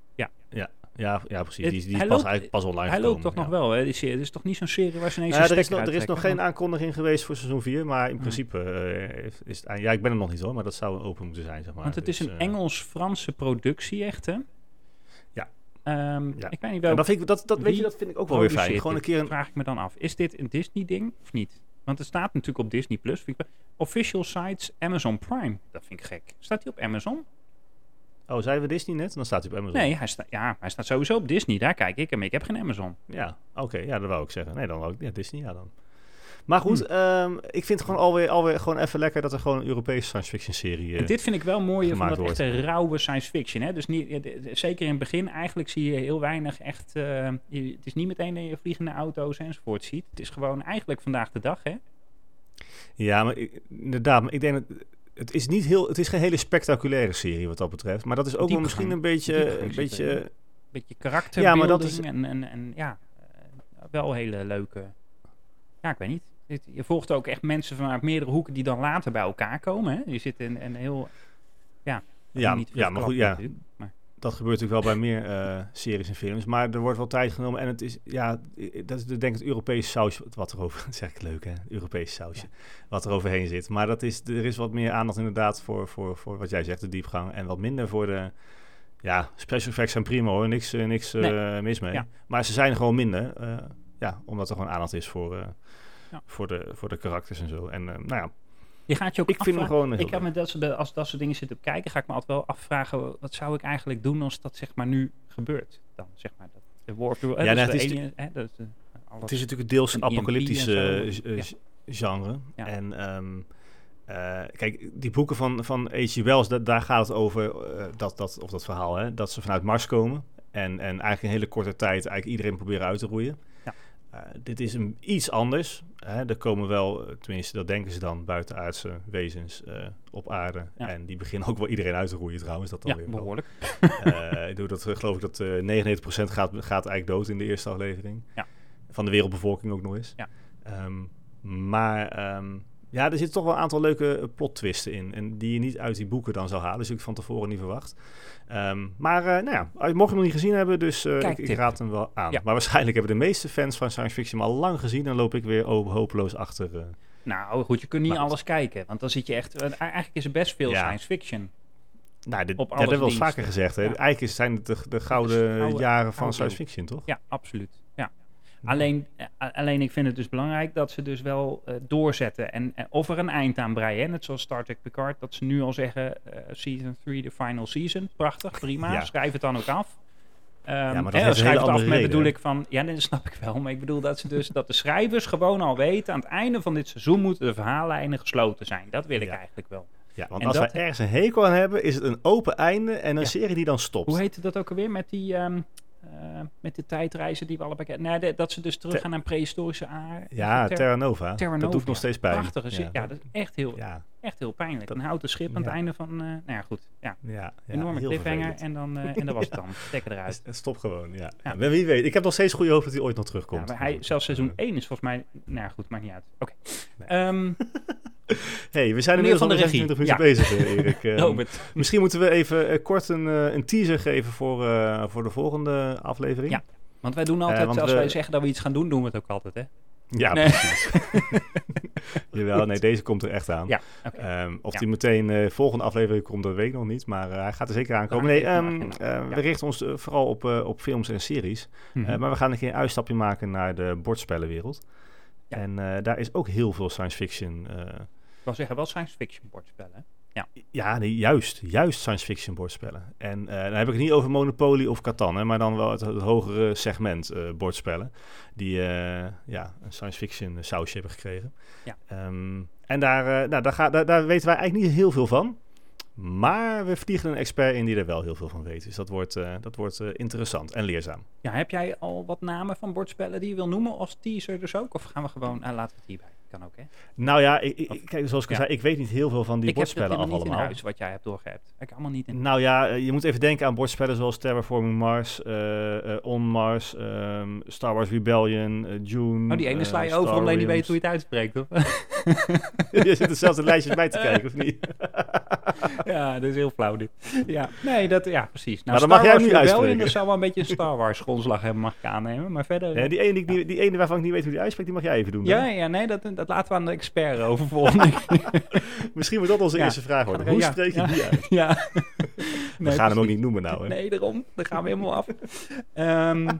A: Ja, ja, precies.
B: Het-
A: Die, is- die is
B: hij
A: pas,
B: loopt-
A: eigenlijk pas online
B: Hij loopt
A: gekomen, ja.
B: toch nog wel, hè? Die serie. Het is toch niet zo'n serie waar ze ineens
A: Nou ja,
B: een
A: er, is
B: stekker
A: nog, er is nog geen
B: uittrekken,
A: aankondiging geweest voor seizoen 4, maar in
B: Ah.
A: principe eh, is- is het... aan- Ja, ik ben er nog niet hoor, maar dat zou open moeten zijn, zeg maar.
B: want- Want het
A: Dus,
B: is een
A: eh,
B: Engels-Franse productie, echt, hè?
A: Ja.
B: Ehm,
A: Ja.
B: Ik weet niet
A: En
B: welke
A: dat vind ik, dat, dat, weet je,
B: Wie
A: dat vind ik ook wel weer fijn.
B: produceert
A: Gewoon een
B: dit?
A: keer een...
B: vraag ik me dan af. Is dit een Disney-ding of niet? Want het staat natuurlijk op Disney+. Plus. Vind ik wel- Official sites Amazon Prime. Dat vind ik gek. Staat hij op Amazon?
A: Oh, zeiden we Disney net? Dan staat hij op Amazon.
B: Nee, hij, sta, ja, hij staat sowieso op Disney. Daar kijk ik hem. Ik heb geen Amazon.
A: Ja, oké. ja, dat wou ik zeggen. Nee, dan ook ja, Disney, ja dan. Maar goed,
B: Hm.
A: ehm, ik vind het gewoon alweer, alweer gewoon even lekker dat er gewoon een Europese science fiction serie...
B: En
A: eh
B: dit vind ik wel mooier van
A: gemaakt
B: dat echte rauwe science fiction. Hè? Dus niet, eh, de- de- zeker in het begin eigenlijk zie je heel weinig echt... eh, je- het is niet meteen dat je vliegende auto's enzovoort ziet. Het is gewoon eigenlijk vandaag de dag, hè?
A: Ja, maar ik- inderdaad, maar ik denk dat... Het is, niet heel, het is geen hele spectaculaire serie wat dat betreft. Maar dat is ook wel
B: Diepgang.
A: misschien een beetje...
B: Diepgang
A: Een
B: zit
A: beetje
B: erin. Beetje karakterbeelding
A: maar dat is-
B: en, en, en ja, eh, wel hele leuke... Ja, ik weet niet. Dit- Je volgt ook echt mensen vanuit meerdere hoeken die dan later bij elkaar komen. Hè? Je zit in een heel... Ja, dat
A: Ja,
B: moet niet te veel
A: ja, maar goed,
B: verklappen
A: ja.
B: natuurlijk, maar-
A: dat gebeurt natuurlijk wel bij meer eh, series en films. Maar er wordt wel tijd genomen. En het is, ja, i- dat is de- denk ik het Europese sausje. Wat erover, dat zeg ik leuk hè, Europese sausje. Wat er overheen zit. Maar dat is, er is wat meer aandacht inderdaad voor, voor, voor wat jij zegt, de diepgang. En wat minder voor de, ja, special effects zijn prima hoor. Niks, eh, niks eh, mis mee.
B: Ja.
A: Maar ze zijn er gewoon minder. eh, ja, omdat er gewoon aandacht is voor, eh,
B: Ja.
A: voor, de, voor de karakters en zo. En eh, nou ja,
B: Je gaat je ook
A: ik vind hem
B: afvragen-
A: gewoon heel
B: Ik heb
A: leuk.
B: me dat soort, als dat soort dingen zit op kijken, ga ik me altijd wel afvragen, wat zou ik eigenlijk doen als dat zeg maar nu gebeurt? Dan zeg maar dat de War of the Worlds,
A: Ja,
B: hè, dat
A: nou,
B: is
A: het
B: de
A: is
B: ene- hè, dat is de- alles.
A: Het is natuurlijk deels
B: Een
A: een
B: EMP en
A: apocalyptische
B: zo.
A: eh, eh,
B: Ja.
A: g- genre.
B: Ja.
A: En ehm, eh, kijk, die boeken van, van H.G. Wells, da- daar gaat het over, eh, dat, dat, of dat verhaal, hè, dat ze vanuit Mars komen. En, en eigenlijk in hele korte tijd eigenlijk iedereen proberen uit te roeien.
B: Ja.
A: eh, dit is een, iets anders. Hè? Er komen wel, eh, tenminste dat denken ze dan, buitenaardse wezens eh, op aarde.
B: Ja.
A: En die beginnen ook wel iedereen uit te roeien trouwens. Dat dan
B: Ja,
A: weer wel.
B: behoorlijk.
A: Eh, ik doe dat, eh, geloof ik dat eh 99% gaat, gaat eigenlijk dood in de eerste aflevering.
B: Ja.
A: Van de wereldbevolking ook nog eens.
B: Ja.
A: Ehm, maar ehm, ja, er zitten toch wel een aantal leuke eh, plot twisten in. En die je niet uit die boeken dan zou halen. Dus ik van tevoren niet verwacht. Ehm, maar eh, nou ja, als- mocht je hem nog niet gezien hebben, dus eh, ik,
B: Kijktip.
A: ik raad hem wel aan.
B: Ja.
A: Maar waarschijnlijk hebben de meeste fans van science fiction hem al lang gezien. En loop ik weer ho- hopeloos achter. eh.
B: Nou goed, je kunt niet
A: Maar goed.
B: alles kijken. Want dan zit je echt... want Eigenlijk is er best veel
A: Ja.
B: science fiction.
A: Nou, dit,
B: Op
A: ja, dat
B: alle
A: hebben we wel eens vaker
B: diensten.
A: gezegd. Hè?
B: Ja.
A: Eigenlijk zijn het de, de
B: Het
A: gouden
B: is gouden-
A: jaren van
B: gouden
A: science
B: eeuw.
A: fiction, toch?
B: Ja, absoluut. Ja. Alleen, eh, a- alleen ik vind het dus belangrijk dat ze dus wel eh, doorzetten. En, eh, of er een eind aan breien. hè. Net zoals Star Trek Picard. Dat ze nu al zeggen, eh, season 3, de final season. Prachtig, prima.
A: Ja.
B: Schrijf het dan ook af. Ehm,
A: maar dat
B: hè,
A: heeft een hele
B: schrijf het af
A: andere
B: met
A: reden,
B: bedoel
A: hè.
B: ik van... Ja, nee, dat snap ik wel. Maar ik bedoel dat, ze dus, dat de schrijvers gewoon al weten... aan het einde van dit seizoen moeten de verhaallijnen gesloten zijn. Dat wil ik
A: Ja.
B: eigenlijk wel.
A: Ja, want
B: En
A: als
B: dat-
A: wij ergens een hekel aan hebben, is het een open einde en een
B: Ja.
A: serie die dan stopt.
B: Hoe heette dat ook alweer met die... ehm, eh, met de tijdreizen die we allebei kennen. Nee, de- dat ze dus teruggaan naar prehistorische aarde.
A: ja, Terra Nova.
B: Terra
A: Dat doet
B: Nova.
A: nog steeds pijn.
B: Prachtige zin. Ja,
A: ja,
B: dat is echt heel,
A: ja,
B: echt heel pijnlijk.
A: Dat-
B: een houten schip aan het
A: ja.
B: einde van... eh, nou ja, goed. Ja,
A: ja, ja,
B: enorme
A: heel
B: cliffhanger.
A: vervelend.
B: En dan, eh, en dat was het dan. Stekker eruit.
A: Het Stop gewoon, ja.
B: Ja.
A: Ja, maar Wie weet, ik heb nog steeds goede hoop dat hij ooit nog
B: Ja,
A: terugkomt.
B: maar hij, zelfs seizoen
A: Eh,
B: 1 is volgens mij... Nou ja, goed, maakt niet uit. Oké.
A: Nee.
B: Ehm,
A: hey, we zijn
B: Meneer
A: inmiddels
B: van
A: al
B: de
A: 26 minuten
B: regie. Oh,
A: bezig, eh, Erik. Eh,
B: Robert.
A: misschien moeten we even eh, kort een, eh, een teaser geven voor, eh, voor de volgende aflevering.
B: Ja. Want wij doen altijd,
A: Eh, want
B: als
A: we-
B: wij zeggen dat we iets gaan doen, doen we het ook altijd, hè?
A: Ja,
B: Nee.
A: precies. Jawel, nee, deze komt er echt aan.
B: Ja, oké.
A: Ehm, of
B: Ja.
A: die meteen eh, volgende aflevering komt, dat weet ik nog niet. Maar eh, hij gaat er zeker aankomen.
B: Maar
A: Nee,
B: even
A: ehm,
B: maken,
A: eh, we
B: ja.
A: richten ons eh, vooral op, eh, op films en series.
B: Mhm.
A: Eh, maar we gaan een keer een uitstapje maken naar de bordspellenwereld.
B: Ja.
A: En eh, daar is ook heel veel science fiction. eh,
B: Ik wil zeggen, wel science fiction bordspellen. hè?
A: ja, nee, juist. Juist science fiction bordspellen. En eh, dan heb ik het niet over Monopoly of Catan, hè, maar dan wel het, het hogere segment eh, bordspellen. Die eh, ja, een science fiction sausje hebben gekregen.
B: Ja.
A: Ehm, en daar, eh, nou, daar, ga, daar, daar weten wij eigenlijk niet heel veel van. Maar we vliegen een expert in die er wel heel veel van weet. Dus dat wordt, eh, dat wordt eh, interessant en leerzaam.
B: Ja, heb jij al wat namen van bordspellen die je wil noemen als teaser dus ook? Of gaan we gewoon... ah, laten we het hierbij. Kan ook, hè?
A: Nou ja, ik, ik- ik- kijk, zoals ik al
B: Ja.
A: zei, ik weet niet heel veel van die
B: ik heb het
A: bordspellen
B: helemaal
A: af
B: niet in
A: allemaal.
B: huis wat jij hebt doorgehebt. Ik allemaal niet in
A: Nou ja, eh, je moet even denken aan bordspellen zoals Terraforming Mars, eh, eh, On Mars, ehm, Star Wars Rebellion, eh, Dune.
B: Oh, die ene
A: eh,
B: sla je
A: Star
B: over omdat je niet
A: Realms.
B: weet hoe je het uitspreekt, hoor.
A: je zit er zelfs een lijstje bij te kijken, of niet?
B: ja, dat is heel flauw dit. Ja, nee, dat, ja precies. Nou,
A: Maar dan mag jij hem
B: Star Wars
A: niet
B: Rebellion,
A: uitspreken.
B: Dat zou wel een beetje een Star Wars grondslag hebben, mag ik aannemen. Maar verder...
A: Nee, die, ene die, ik niet- die ene waarvan ik niet weet hoe die uitspreekt, die mag jij even doen.
B: ja,
A: hè?
B: ja, nee, dat, dat laten we aan de expert over volgende keer.
A: Misschien wordt dat onze
B: Ja.
A: eerste vraag worden.
B: Ga er-
A: Hoe
B: ja,
A: spreek je
B: ja.
A: die uit?
B: ja.
A: We gaan hem ook niet noemen nou, hè?
B: Nee, daarom. Daar gaan we helemaal af. Ehm,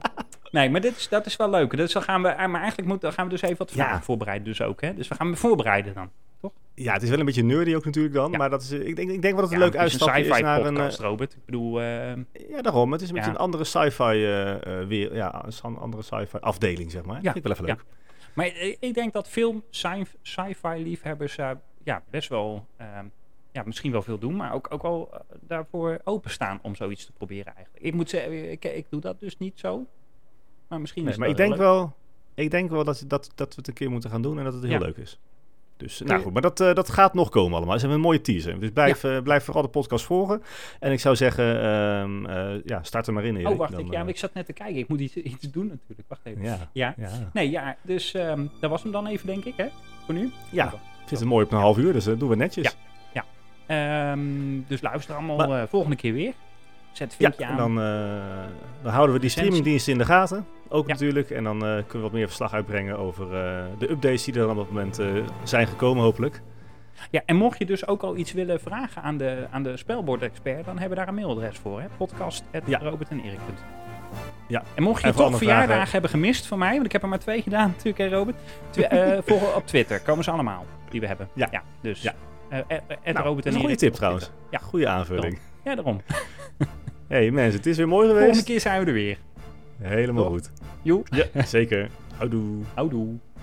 B: nee, maar dit is, dat is wel leuk. Dus dan gaan we, maar eigenlijk moeten, gaan we dus even wat
A: Ja.
B: vragen voorbereiden dus ook, hè. Dus we gaan hem voorbereiden dan.
A: Ja, het is wel een beetje nerdy ook natuurlijk dan,
B: Ja.
A: maar dat is, eh, ik, denk, ik denk wel dat het
B: Ja,
A: leuk
B: het is
A: uitstapje is,
B: sci-fi
A: naar een...
B: podcast, Robert. Ik bedoel... ehm,
A: eh, ja, daarom. Het is een beetje
B: Ja.
A: een andere sci-fi eh, eh, weer, ja, een san- andere sci-fi afdeling, zeg maar.
B: Ja,
A: Vind ik wel even
B: ja.
A: leuk.
B: Maar i- ik denk dat film sci- sci-fi liefhebbers eh, ja, best wel, ehm, ja, misschien wel veel doen, maar ook, ook wel eh, daarvoor openstaan om zoiets te proberen eigenlijk. Ik moet zeggen, ik, ik doe dat dus niet zo. Maar misschien
A: Nee,
B: is
A: maar ik
B: het
A: denk
B: heel
A: wel, ik denk wel dat, dat, dat we het een keer moeten gaan doen en dat het heel
B: Ja.
A: leuk is. Dus eh,
B: Kun
A: nou
B: je-
A: goed, maar dat, eh, dat gaat nog komen allemaal. Ze hebben een mooie teaser. Dus blijf, eh, blijf vooral de podcast volgen. En ik zou zeggen, ehm, eh, ja, start er maar in.
B: leuk.
A: Erik.
B: Oh, wacht,
A: Dan,
B: ik, ja,
A: eh,
B: maar ik zat net te kijken. Ik moet iets, iets doen natuurlijk. Wacht even.
A: ja,
B: Ja.
A: ja.
B: Nee, ja, dus ehm, dat was hem dan even, denk ik, hè? Voor nu.
A: Ja, het zit er mooi op een half uur, dus dat doen we netjes.
B: Ja. Ehm, dus luister allemaal
A: Maar-
B: eh, volgende keer weer. Zet het
A: Ja,
B: vinkje
A: en
B: aan.
A: dan, eh, dan houden we die
B: Recensie.
A: streamingdiensten in de gaten. Ook
B: Ja.
A: natuurlijk. En dan eh, kunnen we wat meer verslag uitbrengen over eh, de updates die er dan op het moment eh, zijn gekomen, hopelijk.
B: Ja, en mocht je dus ook al iets willen vragen aan de, aan de spelbordexpert, dan hebben we daar een mailadres voor. Hè? Podcast
A: Ja. Ja.
B: En mocht je
A: En voor
B: toch
A: alle
B: verjaardagen
A: vragen-
B: hebben gemist van mij, want ik heb er maar twee gedaan natuurlijk, hè Robert. Twi- eh, volg op Twitter, komen ze allemaal, die we hebben.
A: Ja.
B: dus.
A: Ja.
B: eh, eh, eh, at
A: Nou,
B: Robert
A: dat is
B: en
A: een goede
B: Erik
A: tip
B: op
A: trouwens.
B: Twitter. Ja,
A: Goede aanvulling.
B: ja, daarom.
A: hey, mensen, het is weer mooi
B: Volgende
A: geweest.
B: keer zijn we er weer.
A: Helemaal
B: Toch?
A: goed.
B: Joe,
A: Ja, zeker. Houdoe.
B: houdoe.